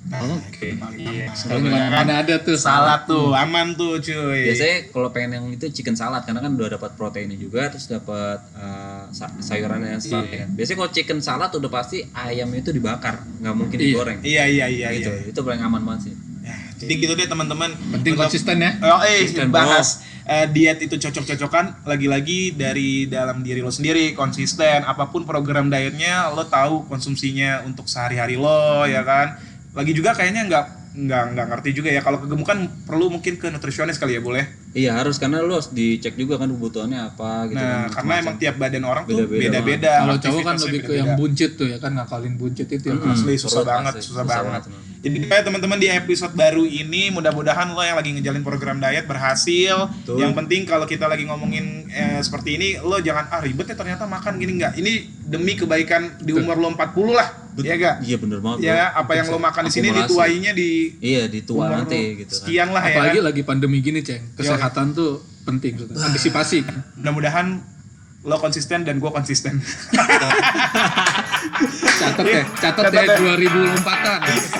Speaker 1: Nah,
Speaker 3: Oke.
Speaker 1: itu paling
Speaker 2: Iya.
Speaker 1: aman. Ya kan?
Speaker 3: Kalau mana, mana ada tuh
Speaker 1: Salah tuh, aman tuh cuy.
Speaker 2: Hmm. Biasanya kalau pengen yang itu chicken salad karena kan udah dapat proteinnya juga terus dapat eh, sa- sayurannya yang serat ya. Biasanya kalau chicken salad udah pasti ayamnya itu dibakar, nggak mungkin
Speaker 3: Iya.
Speaker 2: digoreng.
Speaker 1: Iya iya iya
Speaker 2: Gitu.
Speaker 1: iya.
Speaker 2: Itu paling aman banget sih.
Speaker 1: Ya, jadi gitu deh teman-teman.
Speaker 3: Penting
Speaker 1: Untuk-
Speaker 3: konsisten ya.
Speaker 1: Oh, eh,
Speaker 2: Konsisten,
Speaker 1: bahas eh, diet itu cocok-cocokan lagi-lagi dari dalam diri lo sendiri konsisten apapun program dietnya lo tahu konsumsinya untuk sehari-hari lo ya kan lagi juga kayaknya nggak nggak nggak ngerti juga ya kalau kegemukan perlu mungkin ke nutrisionis kali ya boleh
Speaker 2: Iya harus karena lu harus dicek juga kan kebutuhannya apa gitu
Speaker 1: nah
Speaker 2: kan.
Speaker 1: karena emang tiap badan orang tuh
Speaker 2: Beda-beda
Speaker 1: beda-beda
Speaker 3: Kalau cowok kan
Speaker 1: aktivitasnya
Speaker 3: lebih ke
Speaker 1: beda-beda.
Speaker 3: yang buncit tuh ya kan ngakalin buncit itu ya.
Speaker 2: Mm-mm.
Speaker 1: Iya, Asli susah
Speaker 2: Perut
Speaker 1: banget,
Speaker 2: asli,
Speaker 1: susah,
Speaker 2: susah
Speaker 1: banget.
Speaker 2: banget. mm.
Speaker 1: Jadi kayak teman-teman di episode baru ini mudah-mudahan lo yang lagi ngejalin program diet berhasil.
Speaker 2: Betul.
Speaker 1: Yang penting kalau kita lagi ngomongin eh, seperti ini lo jangan ah ribet ya ternyata makan gini enggak. Ini demi kebaikan di umur lo 40 lah. Iya enggak?
Speaker 2: Iya bener banget. bro.
Speaker 1: Ya, apa yang lo makan di sini
Speaker 2: Akumulasi.
Speaker 1: dituainya di
Speaker 2: Iya di tua
Speaker 1: umur
Speaker 2: nanti
Speaker 1: lo
Speaker 2: gitu kan.
Speaker 1: Sekian lah ya.
Speaker 3: Apalagi
Speaker 1: kan?
Speaker 3: lagi pandemi gini, Ceng. Kesehatan tuh penting. Ustaz. Antisipasi. kan.
Speaker 1: Mudah-mudahan lo konsisten dan gue konsisten.
Speaker 3: Catat ya, catat ya 2004-an.